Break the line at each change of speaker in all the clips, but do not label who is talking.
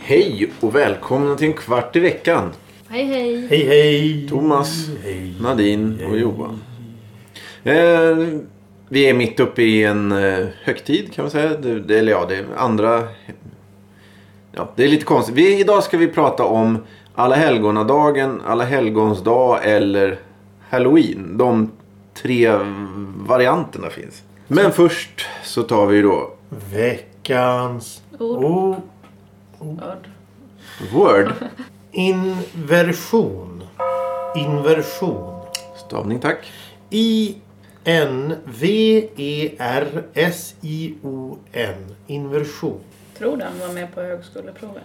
Hej och välkomna till en kvart i veckan.
Hej hej!
Hej hej!
Thomas,
Hej.
Nadine och Johan. Eh, vi är mitt uppe i en eh, högtid kan man säga. Det, det, eller ja, det är andra... Ja, det är lite konstigt. Vi, idag ska vi prata om Alla helgonadagen, Alla helgons dag eller Halloween. De tre varianterna finns. Men först så tar vi då
Veckans
Ord.
o-
Ord.
Word.
inversion. Inversion.
Stavning tack.
I-N-V-E-R-S-I-O-N. Inversion.
Tror du han var med på högskoleprovet?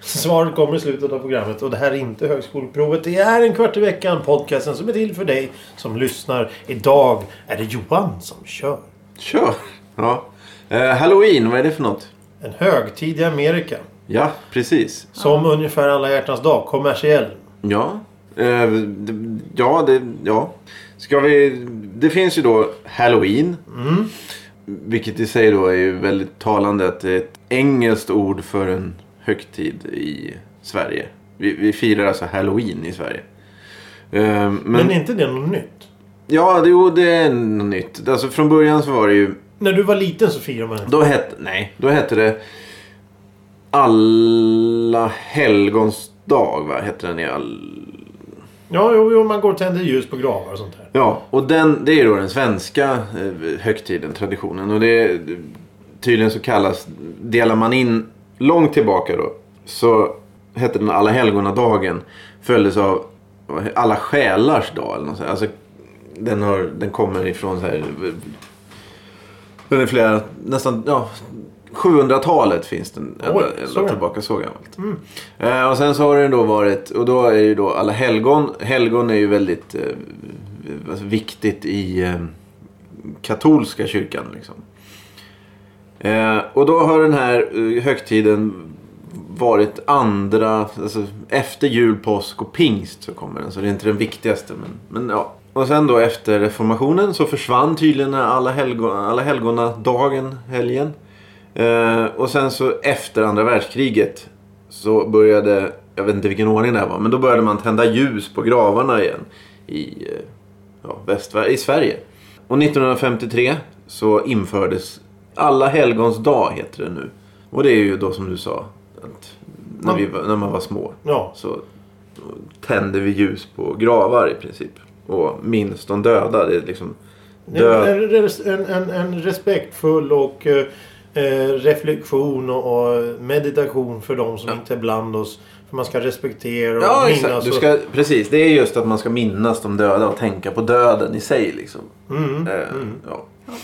Svaret kommer i slutet av programmet och det här är inte högskoleprovet. Det är en kvart i veckan podcasten som är till för dig som lyssnar. Idag är det Johan som kör.
Kör! Ja. Eh, Halloween, vad är det för något?
En högtid i Amerika.
Ja, precis.
Som ungefär alla hjärtans dag. Kommersiell.
Ja. Eh, det- ja, det... Ja. Ska vi... Det finns ju då Halloween. Vilket i sig då är ju väldigt talande att det är ett engelskt ord för en högtid i Sverige. Vi, vi firar alltså Halloween i Sverige. Eh,
Men
Men,
är inte det något nytt?
ja, det, jo, det är något nytt. Alltså från början så var det ju
När du var liten så firade man inte.
Då hette, nej, då hette det Alla helgons dag, va? Hette den i all...
Ja, jo, jo, man går och tänder ljus på gravar och sånt där.
Ja, och den, det är då den svenska eh, högtiden, traditionen. Och det tydligen så kallas, delar man in långt tillbaka då, så hette den Alla helgonadagen. Följdes av Alla själars dag eller något sånt. Alltså, den, har, den kommer ifrån så här... Den är flera, nästan, ja, 700-talet finns den ända,
Oj, så Mm.
ända
gammalt.
tillbaka. Så gammalt. Eh, och sen så har den då varit, och då är ju då alla helgon. Helgon är ju väldigt eh, alltså viktigt i eh, katolska kyrkan. Liksom. Eh, och då har den här eh, högtiden varit andra, alltså efter jul, påsk och pingst så kommer den. Så det är inte den viktigaste. Men, men ja. Och sen då efter reformationen så försvann tydligen alla, helgo, alla helgona dagen, helgen. Eh, och sen så efter andra världskriget så började, jag vet inte vilken ordning det här var, men då började man tända ljus på gravarna igen i, eh, ja, Västsverige, i Sverige. Och 1953 så infördes Alla helgons dag heter det nu. Och det är ju då som du sa, att när, vi, var- när man var små
Ja,
så tände vi ljus på gravar i princip. Och minst de döda. Det är liksom
det är
död.
en, res- en, en, en respektfull och eh, eh, reflektion och, och meditation för de som inte är bland oss. För man ska respektera och
Ja,
minnas.
exakt. Du
och-
ska, precis, det är just att man ska minnas de döda och tänka på döden i sig. Liksom.
Mm.
Eh, Ja.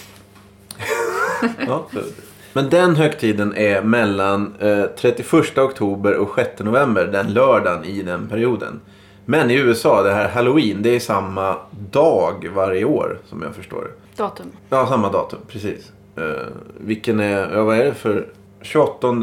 ja. Men den högtiden är mellan eh, 31 oktober och 6 november, den lördagen i den perioden. Men i USA, det här halloween, det är samma dag varje år som jag förstår det.
Datum.
Ja, samma datum, precis. Eh, vilken är, ja vad är det för 28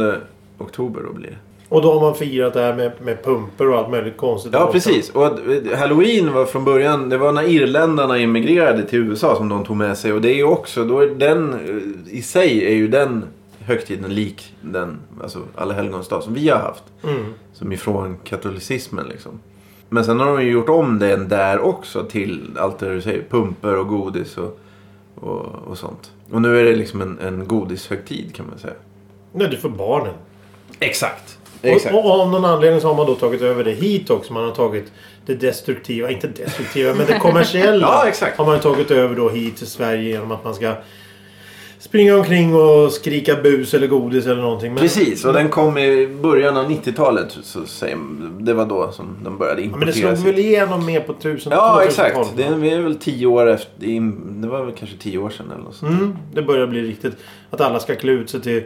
oktober då blir det?
Och då har man firat det här med, med pumper och allt möjligt konstigt.
Ja,
Och-
precis. Och att, eh, halloween var från början, det var när irländarna immigrerade till USA som de tog med sig. Och det är ju också, då är den eh, i sig är ju den högtiden lik den, alltså alla helgons dag som vi har haft.
Mm.
Som ifrån katolicismen liksom. Men sen har de ju gjort om den där också till allt det du säger, pumper och godis och, och, och sånt. Och nu är det liksom en, en godishögtid kan man säga.
Nej, det är för barnen.
Exakt. Exakt.
Och, och av någon anledning så har man då tagit över det hit också. Man har tagit det destruktiva, inte destruktiva, men det kommersiella.
Ja, exakt.
Har man tagit över då hit till Sverige genom att man ska springa omkring och skrika bus eller godis eller någonting. Men,
Precis, och den kom i början av 90-talet. Så säger, det var då som den började
Ja, men det
importeras.
slog väl igenom mer på tusen
Ja,
2000-talet.
exakt. Det är, vi är väl tio år efter. in- Det var väl kanske tio år sedan eller något sånt.
Mm, det börjar bli riktigt att alla ska klä ut sig till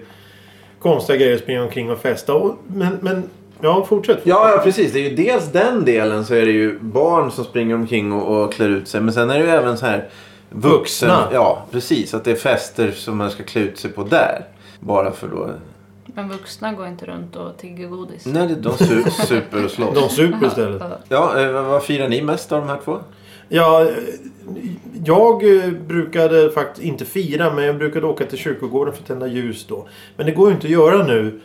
konstiga grejer och springa omkring och festa. Och, men, men Ja, fortsätt.
Ja, ja, precis. Det är ju dels den delen så är det ju barn som springer omkring och, och klär ut sig. Men sen är det ju även så här vuxen.
Vuxna.
Ja, precis. Att det är fester som man ska klä ut sig på där. Bara för då...
Men vuxna går inte runt och tigger godis.
Nej, det- de su- super och slåss.
De super istället.
Ja,
Ja, eh, vad- vad firar ni mest av de här två?
Ja, eh, jag eh, brukade faktiskt inte fira men jag brukade åka till kyrkogården för att tända ljus då. Men det går ju inte att göra nu.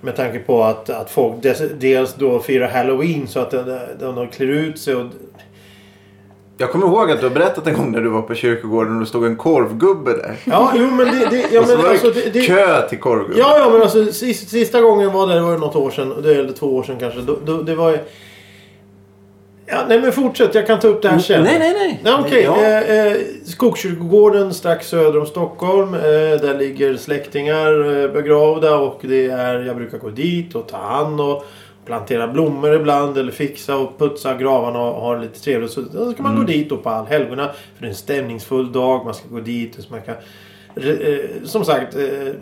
Med tanke på att, att folk des, dels då firar halloween så att de, de, de klär ut sig och...
Jag kommer ihåg att du har berättat en gång när du var på kyrkogården och det stod en korvgubbe där.
Ja, jo men det... det, ja,
och så
men,
var
alltså,
det
det, det
kö till korvgubben.
Ja, ja, men alltså sista, sista gången var det, det var ju något år sedan. det- Eller två år sedan kanske. Då, då, det var ju... Ja, nej men fortsätt, jag kan ta upp det här sen.
Nej, nej, nej.
Nej, okej.
Ja.
Eh, eh, Skogskyrkogården strax söder om Stockholm. Eh, där ligger släktingar eh, begravda och det är, jag brukar gå dit och ta hand och plantera blommor ibland eller fixa och putsa gravarna och ha det lite trevligt. Så då ska man
Mm.
gå dit då på allhelgona. För det är en stämningsfull dag. Man ska gå dit och så man kan re- eh, som sagt eh,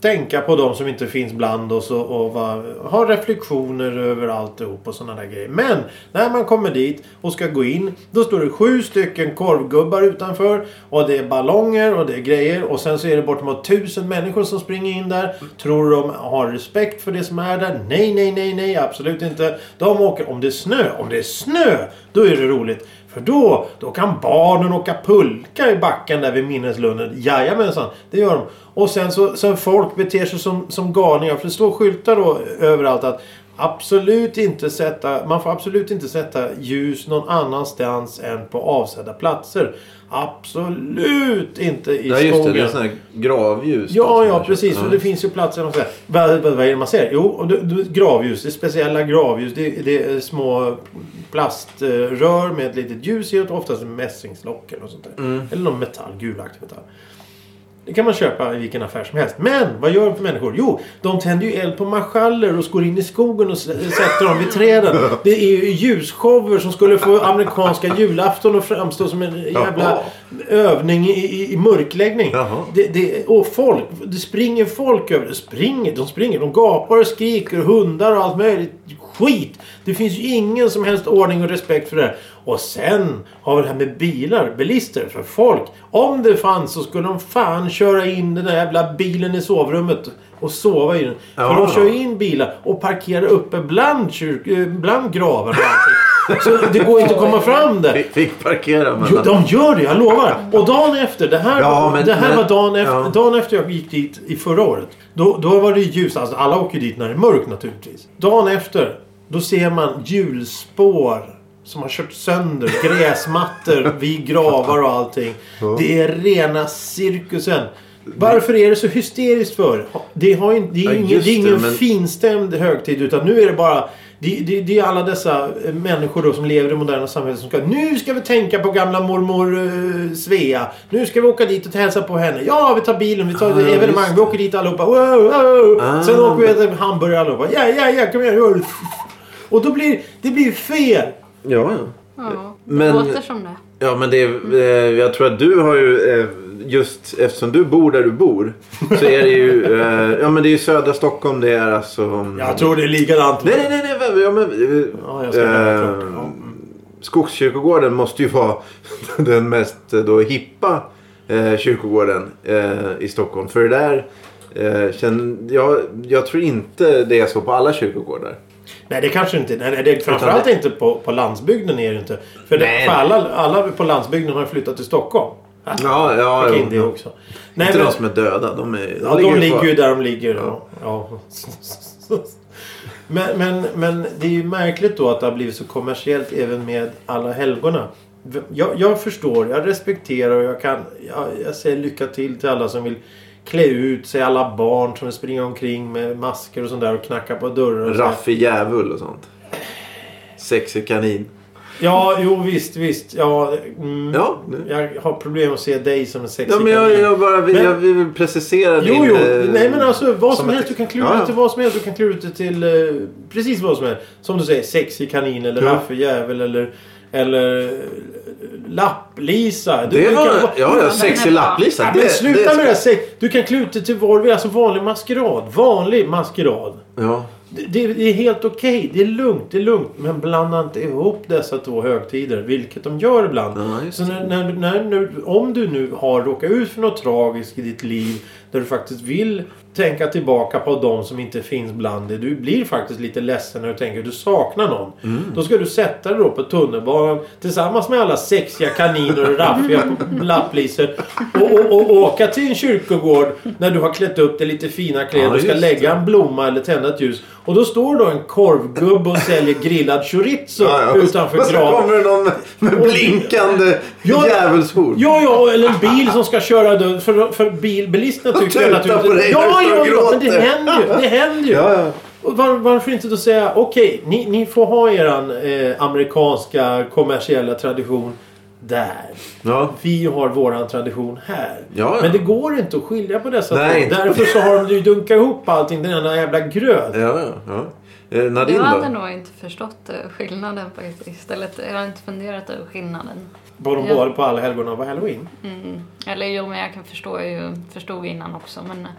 tänka på de som inte finns bland oss och, och va, ha reflektioner över alltihop och sådana där grejer. Men när man kommer dit och ska gå in då står det sju stycken korvgubbar utanför och det är ballonger och det är grejer och sen så är det bortemot tusen människor som springer in där. Tror de har respekt för det som är där? Nej, nej, nej, nej, absolut inte. De åker om det är snö. Om det är snö, då är det roligt. För då, då kan barnen åka pulka i backen där vid minneslunden. Jajamensan, det gör de. Och sen så sen folk beter sig som, som galningar. För det står skyltar då överallt att absolut inte sätta, man får absolut inte sätta ljus någon annanstans än på avsedda platser. Absolut inte i
Ja,
skogen.
just det. Det är sådana här gravljus. då,
Ja,
som
ja
jag
precis.
köpte.
Och det finns ju platser där de säger. Vad, vad, vad är det man säger? Jo, och du, du, gravljus. Det är speciella gravljus. Det, det är små plaströr med ett litet ljus i. och Oftast mässingslock eller något sånt där.
Mm.
Eller någon metall. Gulaktig metall. Det kan man köpa i vilken affär som helst. Men vad gör de för människor? Jo, de tänder ju eld på marschaller och går in i skogen och s- sätter dem vid träden. Det är ju ljusshower som skulle få amerikanska julafton att framstå som en jävla övning i, i, i mörkläggning.
Jaha.
Det, det, och folk, det springer folk över. Det springer, de springer. De gapar och skriker. Hundar och allt möjligt. Skit! Det finns ju ingen som helst ordning och respekt för det här. Och sen har vi det här med bilar, bilister, för folk. Om det fanns så skulle de fan köra in den där jävla bilen i sovrummet och sova i den.
Ja.
För de kör ju in bilar och parkerar uppe bland, kyrk, eh, bland gravarna. och allting. Så det går inte att komma fram där.
Vi fick parkera
Jo,
mellan...
de gör det, jag lovar. Och dagen efter, det här,
Ja, men-
det här
men-
var dagen efter,
ja.
dagen efter jag gick dit i förra året. Då, då var det ju ljus, alltså alla åker ju dit när det är mörkt naturligtvis. Dagen efter, då ser man hjulspår som har kört sönder, gräsmattor vid gravar och allting. Det är rena cirkusen. Varför är det så hysteriskt för? Det, har ju, det är,
Ja,
ingen,
just
det är ingen
det, men-
finstämd högtid utan nu är det bara det, det, det är alla dessa eh, människor då som lever i det moderna samhället som ska Nu ska vi tänka på gamla mormor eh, Svea. Nu ska vi åka dit och hälsa på henne. Ja, vi tar bilen, vi tar ett
ja,
evenemang,
Ah, just
vi åker dit allihopa. Wow, wow.
Ah.
Sen åker vi och äter hamburgare allihopa. Ja, ja, ja, kom igen. Och då blir det blir fel.
Ja, ja.
ja. Det
Men-
låter som det.
Ja, men det är, eh, jag tror att du har ju, eh, just eftersom du bor där du bor, så är det ju, eh, ja men det är ju södra Stockholm, det är alltså...
Jag tror det är likadant.
Nej, nej, nej, nej, vem- ja, men, eh,
Ja, jag ska
eh,
lära mig. Ja.
Skogskyrkogården måste ju vara den mest eh, då hippa eh, kyrkogården eh, i Stockholm. För det där, eh, känn, jag, jag tror inte det är så på alla kyrkogårdar.
Nej, det kanske inte nej, nej, det är. Framförallt
det-
inte på, på landsbygden är det inte. För, det,
Nej.
för alla, alla på landsbygden har flyttat till Stockholm.
Ja, ja,
Fick
jo.
in det också. Nej,
Inte
men,
de som är döda, de, är,
ja, de ligger
kvar.
ju där de ligger. Ja. Ja. Men, men, men det är ju märkligt då att det har blivit så kommersiellt även med alla helgona. Jag, jag förstår, jag respekterar och jag kan... Jag, jag säger lycka till till alla som vill klä ut sig. Alla barn som vill springa omkring med masker och sånt där och knacka på dörrar. Och så här.
Raffig djävul och sånt. Sexig kanin.
Ja, jo visst, visst. Ja, mm,
Ja, nu.
Jag har problem att se dig som en sexig
ja men jag,
kanin.
jag, bara, vill-
Men-
jag vill precisera
Jo,
din...
jo.
eh,
Nej, men alltså vad som,
som
helst.
ett-
Du kan klura
Ja, ja.
ut till vad som helst. Du kan klura ut det till eh, precis vad som helst. Som du säger, sexig kanin eller
Ja.
raffeljävel eller... Eller... eh, Lapplisa. Du,
Det
du
var...
kan,
Ja, ja. Sexig lapplisa.
Ja,
det-
men sluta
det,
med det här. sex- Du kan klä ut det till vad du vill. Alltså vanlig maskerad. Vanlig maskerad.
Ja.
Det, det det är helt okej. Det är lugnt. Det är lugnt. Men blanda inte ihop dessa två högtider. Vilket de gör ibland.
Ja, just
Så när, när, när, när, om du nu har råkat ut för något tragiskt i ditt liv där du faktiskt vill tänka tillbaka på de som inte finns bland dig. Du blir faktiskt lite ledsen när du tänker att du saknar någon.
Mm.
Då ska du sätta dig då på tunnelbanan tillsammans med alla sexiga kaniner och raffiga på- lapplisor och, och, och åka till en kyrkogård när du har klätt upp dig lite fina kläder
Ja,
och ska
just
lägga en blomma eller tända ett ljus. Och då står då en korvgubbe och säljer grillad chorizo
Ja, ja. Och
utanför
så
graven.
kommer det någon med, med blinkande
Ja,
djävulshorn.
Ja, ja, eller en bil som ska köra död. För, för bil, bilisterna
Och
tycker ju
tutar på dig när du
Ja,
står
ja,
och
ja, men det
gråter.
händer ju. Det händer ju.
Ja, ja.
Och var, varför inte då säga okej, ni, ni får ha eran eh, amerikanska kommersiella tradition där.
Ja.
Vi har våran tradition här.
Ja, ja.
Men det går inte att skilja på dessa
Nej,
två.
inte.
Därför så har de ju dunkat ihop allting den enda jävla gröt.
Ja, ja, ja. Eh, Nadine
Jag hade
då?
nog inte förstått eh, skillnaden faktiskt. Istället, jag har inte funderat över skillnaden.
Var de
Ja.
bara på alla helgon av halloween.
Mm. Eller jo, men jag kan förstå ju, förstod innan också. Men eh,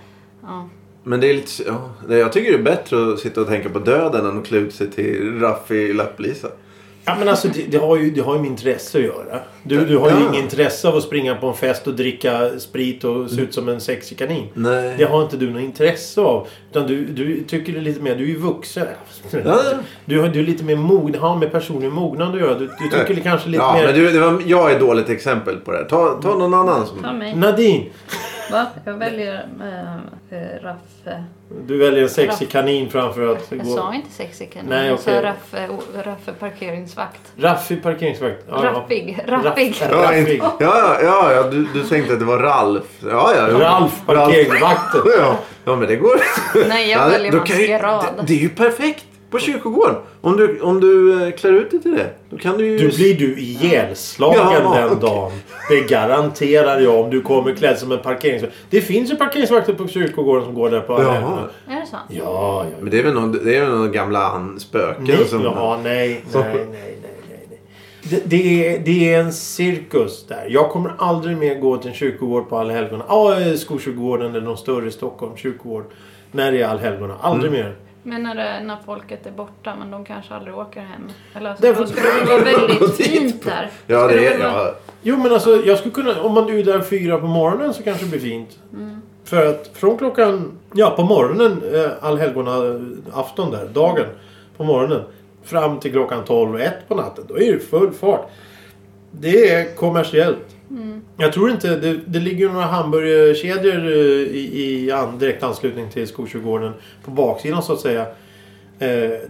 ja.
Men det är lite, ja. Nej, Jag tycker det är bättre att sitta och tänka på döden än att klä ut sig till Raffi Lapplisa.
Ja men alltså det, det, har ju, det har ju med intresse att göra. Du, du har ju
Ja.
inget intresse av att springa på en fest och dricka sprit och se ut som en sexig kanin.
Nej.
Det har inte du något intresse av. Utan du, du tycker det är lite mer, du är ju vuxen.
Ja, ja.
Du, har- du är lite mer mogen, har med personlig mognad att göra. Du, du tycker det kanske lite
Ja,
mer...
men du, det var, jag är ett dåligt exempel på det här. Ta, ta någon annan som...
Ta mig.
Nadine!
Va? Jag väljer äh, äh, Raffe.
Du väljer en sexig kanin framför att
Jag
gå...
sa inte sexiken.
Nej,
jag sa
okej.
Raffe, o- Raffe parkeringsvakt.
Raffi parkeringsvakt. Ja, ja.
Raffig. Raffig.
Raff-
Ja,
Raffi.
inte- ja, ja, ja, ja du, du tänkte att det var Ralf. Ja, ja. ja.
Ralf parkeringsvakten.
Ja, ja, men det går.
Nej, jag
Ja,
väljer
då kan ju,
maskerad.
det, det är ju perfekt på kyrkogården. Om du, om du eh, klär ut dig till det. Då kan du ju...
Du blir du ihjälslagen
Ja,
den
okej.
dagen. Det garanterar jag om du kommer klädd som en parkeringsvakt. Det finns ju parkeringsvakter på kyrkogården som går där på alla
Jaha.
helgerna.
Är det så?
Ja, ja.
Men det är väl någon, det är väl någon gamla an- spöken
Nej,
som...
ja, nej,
som-
nej, nej, nej, nej, nej. Det, det, är, det är en cirkus där. Jag kommer aldrig mer gå till en kyrkogård på Allhelgona. Ja, eh, Skogskyrkogården eller någon större i Stockholm kyrkogård. När det är Allhelgona. Aldrig
Mm.
mer.
Men när, det, när folket är borta men de kanske aldrig åker hem. Eller alltså,
Därför-
då skulle det vara väldigt fint där.
Ja,
Skulle
det är...
vara-
Ja,
Jo men alltså jag skulle kunna, om man är där fyra på morgonen så kanske det blir fint. För att från klockan, ja på morgonen, eh, allhelgona eh, afton där, dagen på morgonen. Fram till klockan 12 och 1 på natten. Då är det full fart. Det är kommersiellt. Jag tror inte, det, det ligger ju några hamburgerkedjor eh, i, i an, direkt anslutning till Skogskyrkogården. På baksidan så att säga. Eh, det-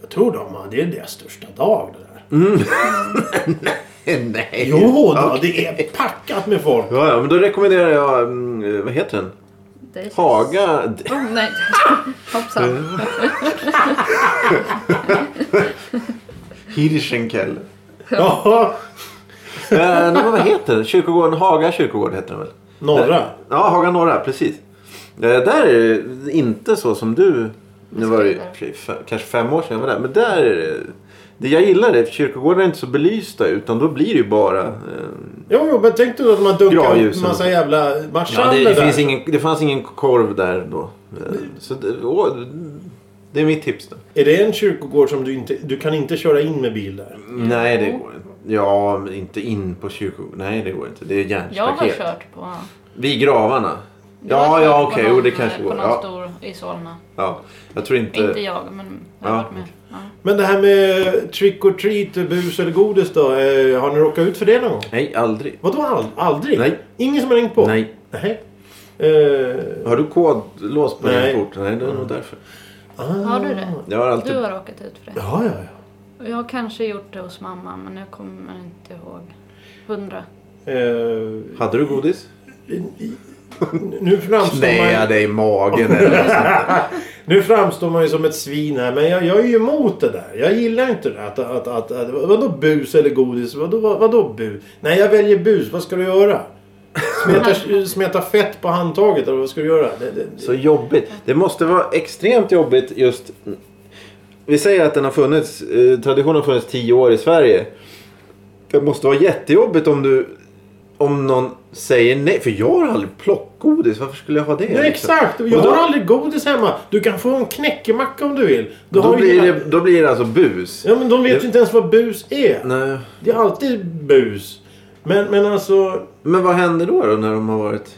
jag tror de, har- det är deras största dag det där.
nej.
Jo, då,
ja.
det är packat med folk.
Ja, ja, men då rekommenderar jag... mm, eh, Vad heter den?
Det är-
Haga...
Oh, nej. Hoppsan.
Hirschenkel.
Ja,
eh, nej, men vad heter den? Kyrkogården? Haga kyrkogård heter den väl?
norra.
Ja, Haga norra, precis. Eh, där är det inte så som du... Nu var det ju i och för sig fe- kanske fem år sedan jag var där. Men där är det... det jag gillar det, för kyrkogården är inte så belysta utan då blir det ju bara... Eh,
Jo, jo, men tänk dig att man dunkar en
Gravljusen.
massa jävla
ja, det,
marschaller
det,
där.
finns ingen, det fanns ingen korv där då. Eh,
Mm.
så det, åh, det är mitt tips. Då.
Är det en kyrkogård som du inte... Du kan inte köra in med bil där.
Nej, det går inte. Ja, men inte in på kyrkogården. Nej, det går inte. Det är
Jag har
järnstaket.
kört på...
Vid gravarna.
jag
Ja,
har kört
ja,
på
okej.
någon- eh,
Jo, det kanske går.
På någon
Ja,
stor i Solna.
ja. Jag tror inte...
Inte jag, men jag har
Ja.
varit med. Ja.
Men det här med trick or treat, bus eller godis då. Eh, har ni råkat ut för det någon gång?
Nej, aldrig.
Vadå ald aldrig?
Nej.
Ingen som har ringt på?
Nej.
Nej. Eh,
Har du kodlås på
Nej. Mm.
din port? Nej, det är nog därför.
ah.
Har du det?
Jag har alltid...
Du har råkat ut för det.
Ja, ja, ja.
Och Jag har kanske gjort det hos mamma, men jag kommer inte ihåg. Hundra.
Eh,
Hade du godis?
nu framstår man...
Nej, det är i magen. eller?
Nu framstår man ju som ett svin här men jag, jag är ju emot det där. Jag gillar inte det. Att, att, att, att, vadå bus eller godis? Vadå, vad, vadå bus? Nej jag väljer bus. Vad ska du göra? Smeta, smeta fett på handtaget eller vad ska du göra? Det, det, det.
Så jobbigt. Det måste vara extremt jobbigt just... Vi säger att den har funnits, eh, traditionen har funnits tio år i Sverige. Det måste vara jättejobbigt om du... om någon säger nej. För jag har aldrig plockgodis. Varför skulle jag ha det?
Nej,
liksom?
exakt! Jag
Och då-
har aldrig godis hemma. Du kan få en knäckemacka om du vill. Du
Då
har ju
blir,
hela-
det, då blir det alltså bus.
Ja, men de vet ju inte ens vad bus är.
Nej.
Det är alltid bus. Men, men alltså...
Men vad händer då, då när de har varit...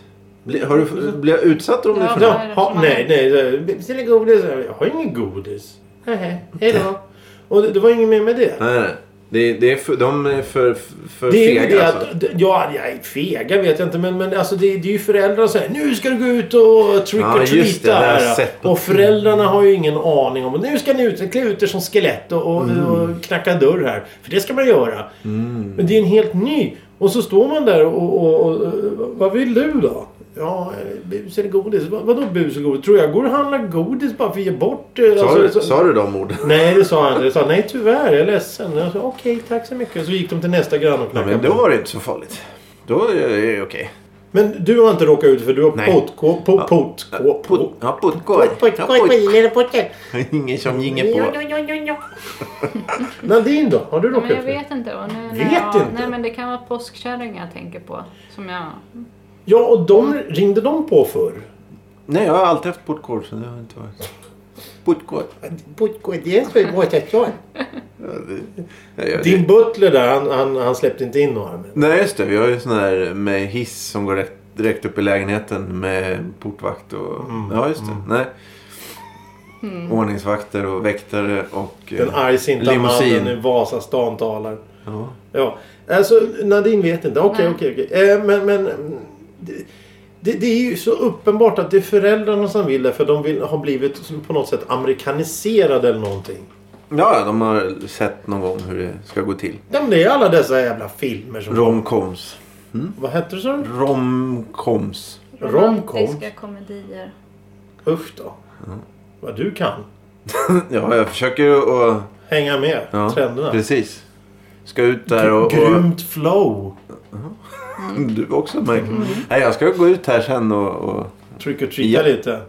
Blir, har du, blir jag utsatt om det?
Ja.
För...
Ja,
är det
ha,
som man-
nej, nej. nej. Beställer godis. Jag har ingen godis. Nähä, hejdå. Och det, det var inget mer med det.
Nej, nej. Det, det är för, de är för, för
Det är ju
fega
det
alltså.
att, ja, jag är fega vet jag inte men, men alltså det, det är ju föräldrar som säger nu ska du gå ut och trick
Ja,
or
just
treat
det, det har jag
här.
sett på-
Och föräldrarna har ju ingen aning om nu ska ni ut, klä ut er som skelett och, och,
Mm.
och knacka dörr här. För det ska man göra. Men det är en helt ny. Och så står man där och, och, och vad vill du då? Ja, eh, bus eller godis? Vad, vadå bus och godis? Tror jag går och handlar godis bara för att ge bort? eh,
Sa,
alltså,
du,
så-
sa du de orden?
Nej, det sa han inte. Jag sa nej tyvärr, jag är ledsen. Jag sa okej, tack så mycket. Så gick de till nästa granne och
Nej,
knackade
men
på.
då var det inte så farligt. Då är det okej.
Men du har inte råkat ut för du har
Nej.
potkå... Po,
Ja.
potkå...
Put-
po-
Ja, puttkorg. Ja, putt- Ingen som ginge på.
Nadine då? Har du
Men
råkat
jag
ut för?
vet inte. Och nu, när
Vet
jag,
inte?
Nej men det kan vara påskkärringar jag tänker på. Som jag...
Ja, och de ringde de på förr?
Nej, jag har alltid haft puttkorg. Så det har inte varit... Puttkorg.
Potkå, det är så bra jag
Ja, det- jag gör det.
Din butler där, han, han, han släppte inte in några. Men.
Nej, just det. Vi har ju sån här med hiss som går rätt, direkt upp i lägenheten med portvakt och... Ja, just det. Nej.
Mm.
Ordningsvakter och väktare och... eh,
Den argsinta mannen
Limousin.
i Vasastan talar.
Ja.
Ja, alltså Nadine vet inte. Okej,
Nej.
okej, okej. Eh, Men, men mm, det- det, det är ju så uppenbart att det är föräldrarna som vill det. För de vill, har blivit som på något sätt amerikaniserade eller någonting.
ja, de har sett någon gång hur det ska gå till.
Ja, men det är alla dessa jävla filmer som...
Romcoms.
Vad hette det så?
Romcoms.
Romcom.
Romantiska komedier.
Usch då. Vad du kan.
Ja, jag försöker ju att...
Hänga med
Ja,
trenderna.
precis. Ska ut där och... och
Grymt flow.
du också Michael. Nej, jag ska gå ut här sen och... och
Tryck och
Ja.
treata lite.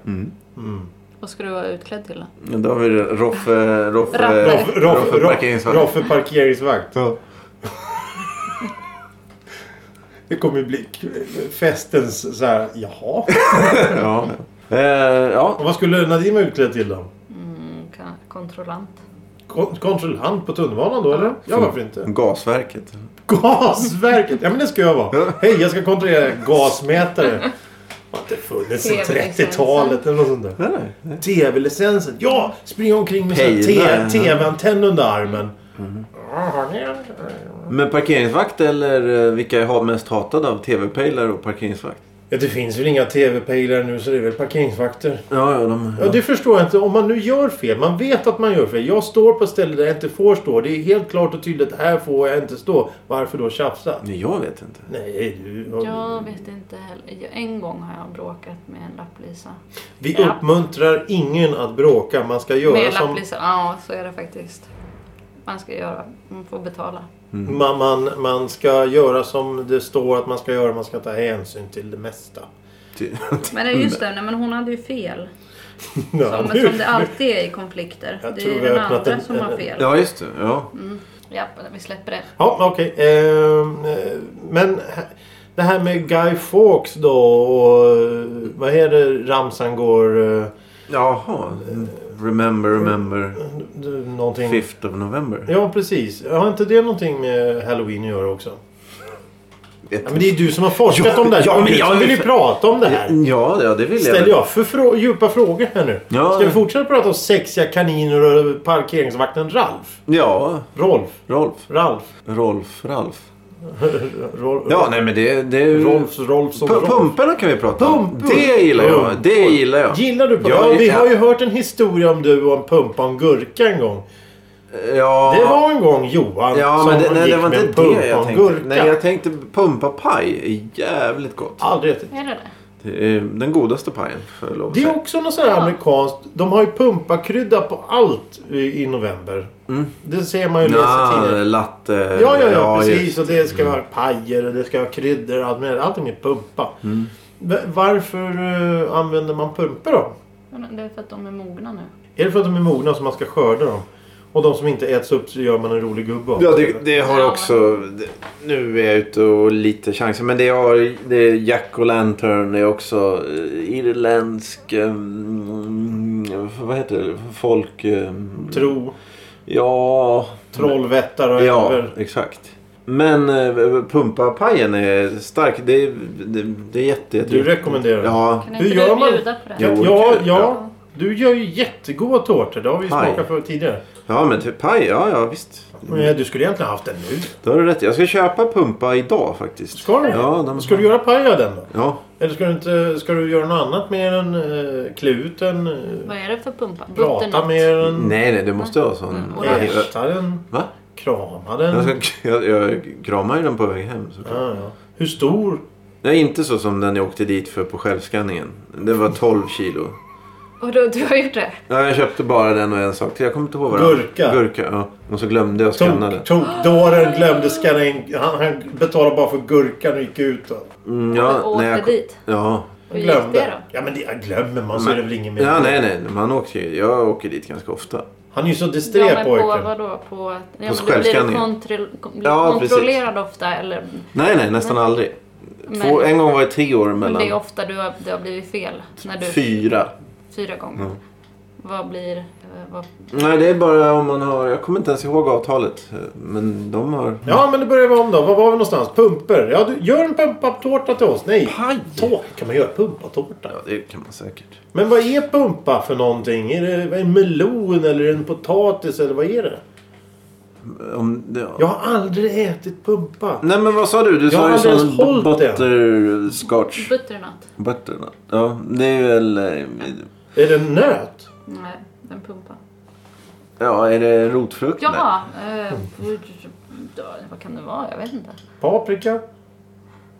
Vad ska du vara utklädd till då?
ja, då har vi det. Roffe... Roffe...
Rappe.
Roffe,
Roff- Roff- Roff-
parkeringsvakt.
Roffe parkeringsvakt.
Ja.
Det kommer ju bli k- festens så här. jaha.
Ja. Eh, ja.
Och vad skulle Nadine vara utklädd till då?
Mm, kan- kontrollant.
Kon- Kontrollant på tunnelbanan då eller? Ja varför inte?
Gasverket.
Gasverket! Ja men det ska jag vara. Hej jag ska kontrollera gasmätare. Har inte funnits sedan
TV-licensen.
30-talet eller något sånt där.
Nej, nej.
TV-licensen. Ja! Springa omkring med sån
Pejlar.
här te- TV-antenn under armen.
Men parkeringsvakt eller eh, vilka är ha- mest hatade av tv-pejlare och parkeringsvakt?
Ja, det finns väl inga TV-pejlare nu så det är väl parkeringsvakter.
Ja, ja, de...
Ja, det förstår jag inte. Om man nu gör fel. Man vet att man gör fel. Jag står på ett ställe där jag inte får stå. Det är helt klart och tydligt. Här får jag inte stå. Varför då tjafsa?
Nej, jag vet inte.
Nej, du...
Jag vet inte heller. Jag- En gång har jag bråkat med en lapplisa.
Vi
Ja.
uppmuntrar ingen att bråka. Man ska göra
Med
som
lapplisa? Ja, så är det faktiskt. Man ska göra. Man får betala.
man, man, man ska göra som det står att man ska göra. Man ska ta hänsyn till det mesta.
Ty-
Men det är just det, nej, men hon hade ju fel.
Ja,
Som,
nu-
som det alltid är i konflikter.
Jag
Det
tror
är ju
vi har
den
öppnat
andra
en-
som har
en-
fel. Mm.
Ja, just det. Ja.
Ja, vi släpper det.
Ja, okej. Ehm, eh, men hä- det här med Guy Fawkes då och eh, vad är det ramsan går... eh,
Jaha. Remember, remember.
du- Någonting...
5th of November.
Ja, precis. Har inte det någonting med Halloween att göra också?
Vet
Ja, men det är du som har forskat
Ja,
om det här.
ja, men
Du
jag
som
vill-
vill ju prata om det här.
Ja, ja, det vill
Ställer
jag.
jag för frå- djupa frågor här nu?
Ja.
Ska vi fortsätta prata om sexiga kaniner och parkeringsvakten Ralf?
Ja,
Rolf?
Rolf.
Ralf?
Rolf, Ralf.
Rolf?
Ja, nej men det... det är ju...
Rolfs, Rolfs och
P-
Rolf.
pumporna kan vi prata om.
Pumpor.
Det gillar jag. Det
Pumpor.
gillar jag.
Gillar du pumpa?
Jag-
Ja, vi har ju hört en historia om du och en pumpa och en gurka en gång.
Ja.
Det var en gång Johan
Ja,
som
men det, nej,
gick
det var
med
inte
en pumpa
det jag
och en
tänkte.
gurka.
Nej, jag tänkte pumpapaj är jävligt gott.
Aldrig ätit.
Är det det?
Det är den godaste pajen, får jag lov att
Det är
säga.
också något sånt här amerikanskt. De har ju pumpakrydda på allt i, i november.
Mm.
Det ser man ju läsa
Nja,
tidningar.
latte...
Ja, ja, ja,
just-
precis. Och det ska vara pajer och det ska vara kryddor och allt med. Allting är pumpa.
Mm.
Va- Varför eh, använder man pumpa då?
Men Det är för att de är mogna nu.
Är det för att de är mogna som man ska skörda dem? Och de som inte äts upp så gör man en rolig gubbe av.
Ja, det, det har också... Det, nu är jag ute och lite chanser. Men det har... Det är Jack och Lantern är också eh, irländsk... Mm, vad heter det? Folk... eh,
Tro,
Ja...
trollvättar och
Ja,
över.
exakt. Men eh, pumpapajen är stark. Det, är- det, det är jätte, jätte...
Du rekommenderar den?
Ja.
Kan
Hur
inte
gör
du
man?
bjuda på det?
Jo.
Ja, ja.
Ja.
Du gör ju jättegoda tårtor. Det har vi
Paj. Mm.
smakat för tidigare.
Ja, men typ paj. Ja, ja, visst.
Men du skulle egentligen haft den nu.
Då har du rätt. Jag ska köpa pumpa idag faktiskt.
Ska du?
Ja, de...
Ska du göra paj av den då?
Ja.
Eller ska du, inte, ska du göra något annat med den? Eh, kluten? Eh,
Vad är det för pumpa?
prata
Butternut?
med den? Eh,
Nej, nej, du måste ha sån...
Mm, och
Ja,
Äta den?
Va?
Krama
Jag,
den?
ska, jag, jag kramar ju den på väg hem såklart.
Ja, ja. Hur stor?
Nej, inte så som den jag åkte dit för på självskanningen. Det var 12 kilo.
Och då, du har gjort det?
Ja, jag köpte bara den och en sak till. Jag kommer inte ihåg vad det var.
Gurka.
Gurka, ja. Och så glömde jag skanna den.
Tok- Tokdåren glömde skanna in. Han, han betalade bara för gurkan och gick ut. Och
Mm,
och
ja,
åkte
nej, jag,
dit?
ja.
Hur gick
glömde.
det då?
Ja men det, glömmer man så är det väl inget mer.
ja, nej, nej. Man åker, ju- jag åker dit ganska ofta.
Han är ju så
Ja,
disträ
men på
pojken.
vadå? På, ja, men du blir
självskanningen.
kontroll, kom- blir
Ja, precis.
kontrollerad ofta eller?
Nej, nej, nästan aldrig. Två,
Men-
en gång var jag tre år
Men det är
mellan.
ofta du har, det har blivit fel. När du,
Fyra.
Fyra gånger.
Mm.
Vad blir... eh, Vad,
Nej, det är bara om man har... Jag kommer inte ens ihåg avtalet. eh, Men de har...
Ja men det börjar vi om då. Var var vi någonstans? Pumper. Ja du, gör en pumpatårta till oss. Nej.
Paj!
Tå- Kan man göra pumpatårta?
Ja, det kan man säkert.
Men vad är pumpa för någonting? Är det vad är en melon eller en potatis eller vad är det?
Om, det-
Jag har aldrig ätit pumpa.
Nej men vad sa du? Du
Jag har
sa ju
aldrig
sån
ens hållit
butterscotch.
butternut?
Butternut. Ja, det är väl... eh,
Är det en nöt?
Nej, en pumpa.
Ja, är det rotfrukt?
Ja! Eh, då, vad kan det vara? Jag vet inte.
Paprika?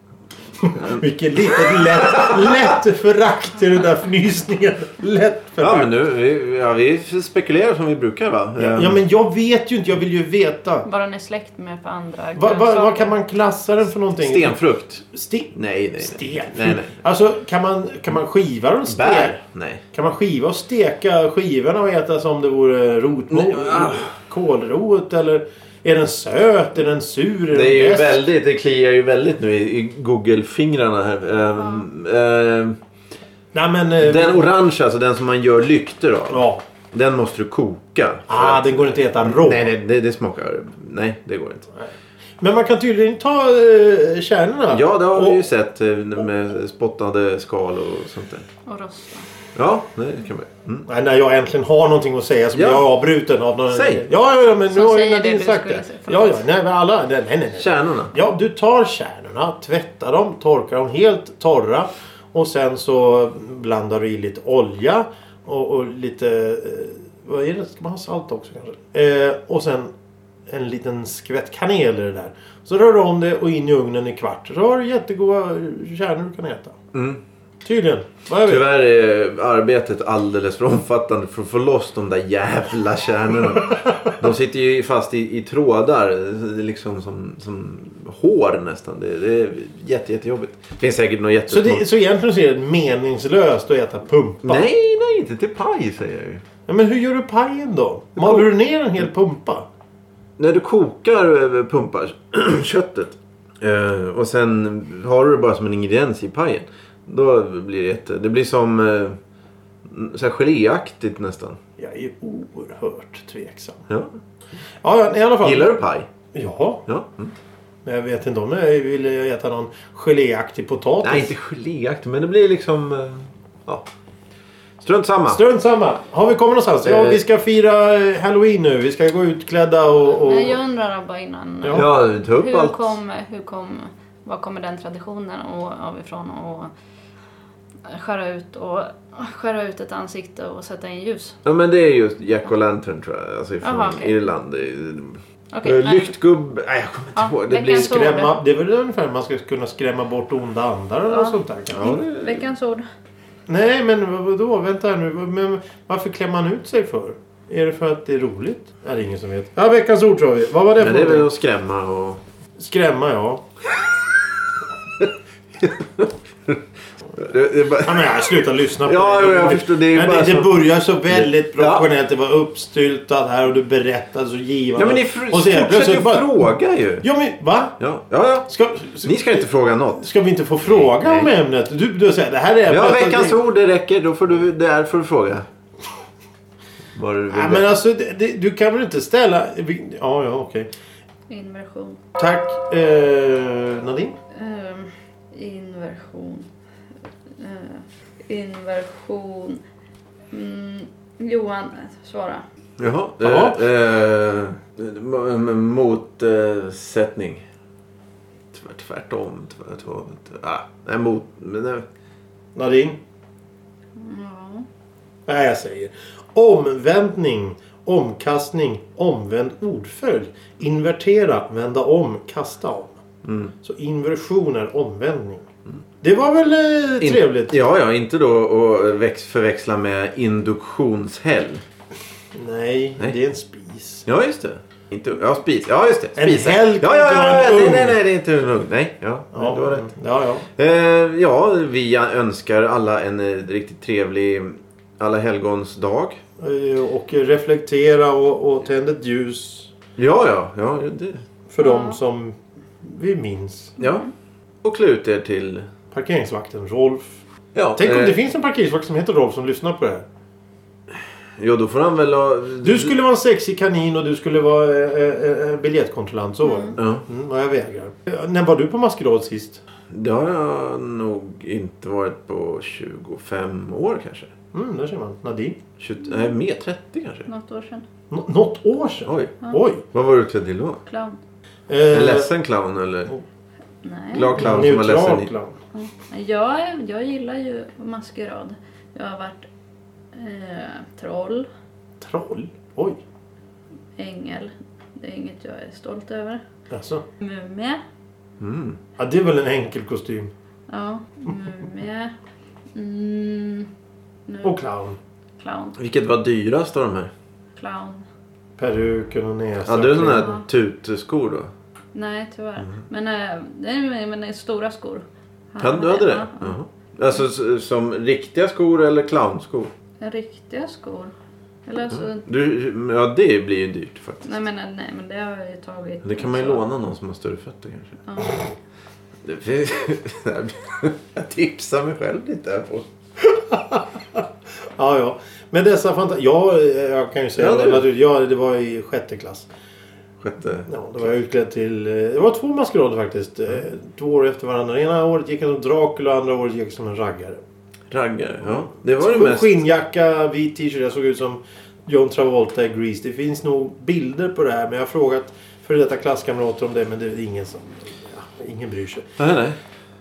Vilket litet lätt, lätt förakt i den där fnysningen. Lätt
Nej. Ja,
förakt.
men nu, vi, ja, vi spekulerar som vi brukar va?
Ja,
Eh,
ja men jag vet ju inte. Jag vill ju veta.
Vad den är släkt med på andra
Vad va,
grönsaker.
vad kan man klassa den för någonting?
Stenfrukt?
Sten.
Nej, nej.
Sten.
Nej, nej.
Alltså kan man, kan man skiva den stek?
Bär? Nej.
Kan man skiva och steka skivorna och äta som det vore
Nej,
rotmos?
ah.
Kålrot eller? Är den söt? Är den sur?
Det
den
är ju
besk?
väldigt, det kliar ju väldigt nu i, i Google-fingrarna här. Ehm, ehm,
Nej men... eh,
den orange, alltså den som man gör lyktor av.
Ja.
Den måste du koka. för
Ah,
att-
den går inte att äta rå.
Nej, nej, det, det smakar... Nej, det går inte.
Men man kan tydligen ta eh, kärnorna.
Ja, det har vi
Och-
ju sett eh, med spottade skal och sånt där.
Och rosta.
Ja, det kan man mm.
Nej, när jag äntligen har någonting att säga så blir
Ja.
jag avbruten av någon...
Säg.
Ja, ja, ja men nu
Som
har ju
säger det
Nadine
du
sagt
skulle
det.
säga.
Ja, ja. Nej, men alla... Nej, nej, nej. nej.
Kärnorna.
Ja, du tar kärnorna, tvättar dem, torkar dem helt torra. Och sen så blandar du i lite olja och, och lite... eh, Vad är det? Ska man ha salt också kanske? Eh, och sen en liten skvätt kanel i det där. Så rör du om det och in i ugnen i kvart. Så har du jättegoda kärnor du kan äta.
Mm.
Tydligen. Vad jag vet.
Tyvärr är arbetet alldeles för omfattande för att få loss de där jävla kärnorna. De sitter ju fast i, i trådar, det är liksom som, som hår nästan. Det, det är jätte, jättejobbigt. Det finns säkert något
Så,
jättesmart.
det, så egentligen så är det meningslöst att äta pumpa.
Nej, nej, inte till paj säger jag ju.
Ja, men hur gör du pajen då? Maler du ner en hel pumpa?
När du kokar eh, pumpar köttet eh, och sen har du det bara som en ingrediens i pajen. Då blir det jätte... Det blir som eh, så här geléaktigt nästan.
Jag är ju oerhört tveksam.
Ja.
Ja, ja, i alla fall.
Gillar du paj?
Ja,
Ja. Mm.
men jag vet inte om jag vill äta någon geléaktig potatis.
Nej, inte geléaktigt men det blir liksom... eh, Ja. Strunt samma.
Strunt samma. Har vi kommit någonstans? Ja,
Eh.
vi ska fira eh, halloween nu. Vi ska gå utklädda och... och...
Nej, Jag undrar bara innan.
Ja.
Ja, ta upp
Hur
allt.
kom, hur kom, var kommer den traditionen och, av ifrån och skära ut, och, skära ut ett ansikte och sätta in ljus?
Ja, men det är just Jack och Lantern tror jag. Alltså från
Jaha, okej.
Irland. Det är-
Okej,
Eh, Lyktgubb... Nej, jag kommer inte
Ja,
ihåg. Det blir...
veckans ord.
skräp-
Skrämma, det är väl ungefär man ska kunna skrämma bort onda andar eller
Ja.
sånt där kanske.
Ja,
nej. Veckans ord.
Nej men vad- vadå? Vänta här nu. Men varför klär man ut sig för? Är det för att det är roligt? Ja, det är ingen som vet. Ja, veckans ord tror vi. Vad var det för
Men det är
någonting?
väl att skrämma och...
Skrämma ja.
Det, det är bara...
Ja, men jag slutar lyssna på
Ja,
det.
jo, jag förstår. Det är ju
men
bara
det, det
så-
börjar så väldigt
Ja.
professionellt. Det var uppstyltat här och du berättade så givande.
Ja, men ni
och
fr-
sen
fortsätter ju
plötsligt bara...
fråga ju.
Ja, men va?
Ja, ja, ja.
Ska,
Ni ska inte fråga något.
ska vi inte få fråga om ämnet? Du, du säger det här är
Ja,
ämnet.
veckans
Det-
ord, det räcker. Då får du, där får du fråga. Vad du vill.
Nej, men alltså, det, det, du kan väl inte ställa... vi- Ja, ja, okej.
Inversion.
Tack, eh, Nadine.
Ehm, inversion. Eh, inversion. Mm, Johan, svara.
Jaha.
Ja.
Eh, eh, m- m- motsättning. Tvärt- Tvärtom. tvärtom, tvärtom. Ah, nej, mot... men nej.
Nadine.
Ja.
Nej, jag säger omvändning, omkastning, omvänd ordföljd. Invertera, vända om, kasta om.
Mm.
Så inversion är omvändning. Det var väl eh,
In-
trevligt?
Ja, ja. Inte då att väx- förväxla med induktionshäll.
Nej,
Nej.
det är en spis.
Ja, just det. Inte, ja, spis. Ja, just det.
En
Spis.
häll
ja, ja, ja,
kontra
ja.
en
Nej,
ugn.
nej, nej. Det är inte en ugn. Nej. Ja,
Ja,
du har rätt.
ja, ja.
Eh, ja, vi önskar alla en eh, riktigt trevlig alla helgons dag.
Eh, Och reflektera och, och tänd ett ljus
Ja, ja, ja. Det,
för
Ja.
dem som vi minns.
ja. Mm. Och klä ut er till...
Parkeringsvakten Rolf.
Ja,
Tänk om
eh,
det finns en parkeringsvakt som heter Rolf som lyssnar på det här.
Jo, då får han väl ha...
Du skulle vara en sexig kanin och du skulle vara eh, eh, eh, biljettkontrollant. Så var det.
Ja,
Mm, och jag vägrar. Eh, När var du på maskerad sist?
det har jag nog inte varit på 25 år kanske.
Mm, där ser man. Nadine.
20, nej, mer 30 kanske.
Något år sedan.
Nå något år sedan?
Oj.
Oj.
Vad var du klädd till då?
Clown.
Eh,
En ledsen clown eller?
Nej.
Glad clown som var ledsen?
Neutral
i-
clown.
Jag, jag gillar ju maskerad. Jag har varit eh, troll,
Troll? Oj.
ängel. Det är inget jag är stolt över.
Alltså.
Mumie.
Mm.
Ja, det är väl en enkel kostym.
Ja, mumie. Mm, nu,
Och clown.
clown.
Vilket var dyrast av de här?
Clown.
Peruken och näsa.
Hade du sådana
sådana
här tutskor då?
Nej, tyvärr.
Mm.
Men, eh, det är, men det är stora skor.
Hade du hade det?
Ja.
Jaha. Alltså s- som riktiga skor eller clownskor?
Riktiga skor. Eller
Mm.
alltså,
Du, ja, det blir ju dyrt faktiskt.
nej, men, nej men det har jag ju tagit.
Det kan man ju
så.
låna någon som har större fötter kanske.
Ja.
Det finns... Jag tipsar mig själv lite här på.
Ja, ja. Men dessa fantastiska... Ja, eh, jag kan ju säga...
Ja,
Ja,
du.
naturligt. ja, det var i sjätte klass.
Sjätte...
Ja, då var jag utklädd till... eh, Det var två maskerader faktiskt.
Mm.
eh, Två år efter varandra. Ena året gick jag som Dracula och andra året gick jag som en raggare.
Raggare, ja. Det var det mest...
Skinnjacka, vit t-shirt. Jag såg ut som John Travolta i Grease. Det finns nog bilder på det här. Men jag har frågat före detta klasskamrater om det. Men det är ingen som... Ja, ingen bryr sig.
Nej, nej.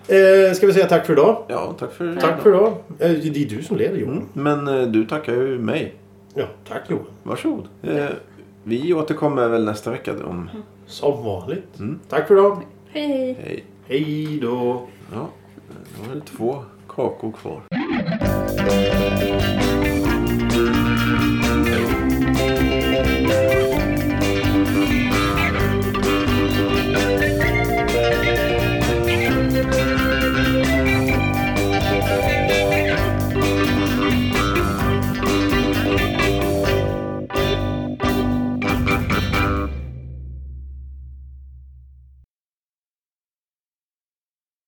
Eh, ska vi säga tack för idag?
Ja, tack för
Tack för idag. Eh, det är du som leder Johan.
Mm. Men eh, du tackar ju mig.
Ja, tack Johan.
Varsågod. Eh, vi återkommer väl nästa vecka om...
Mm.
Som vanligt.
Mm.
Tack för idag.
Hej!
Hej.
Hej då.
eh, Ja, då är det två kakor kvar.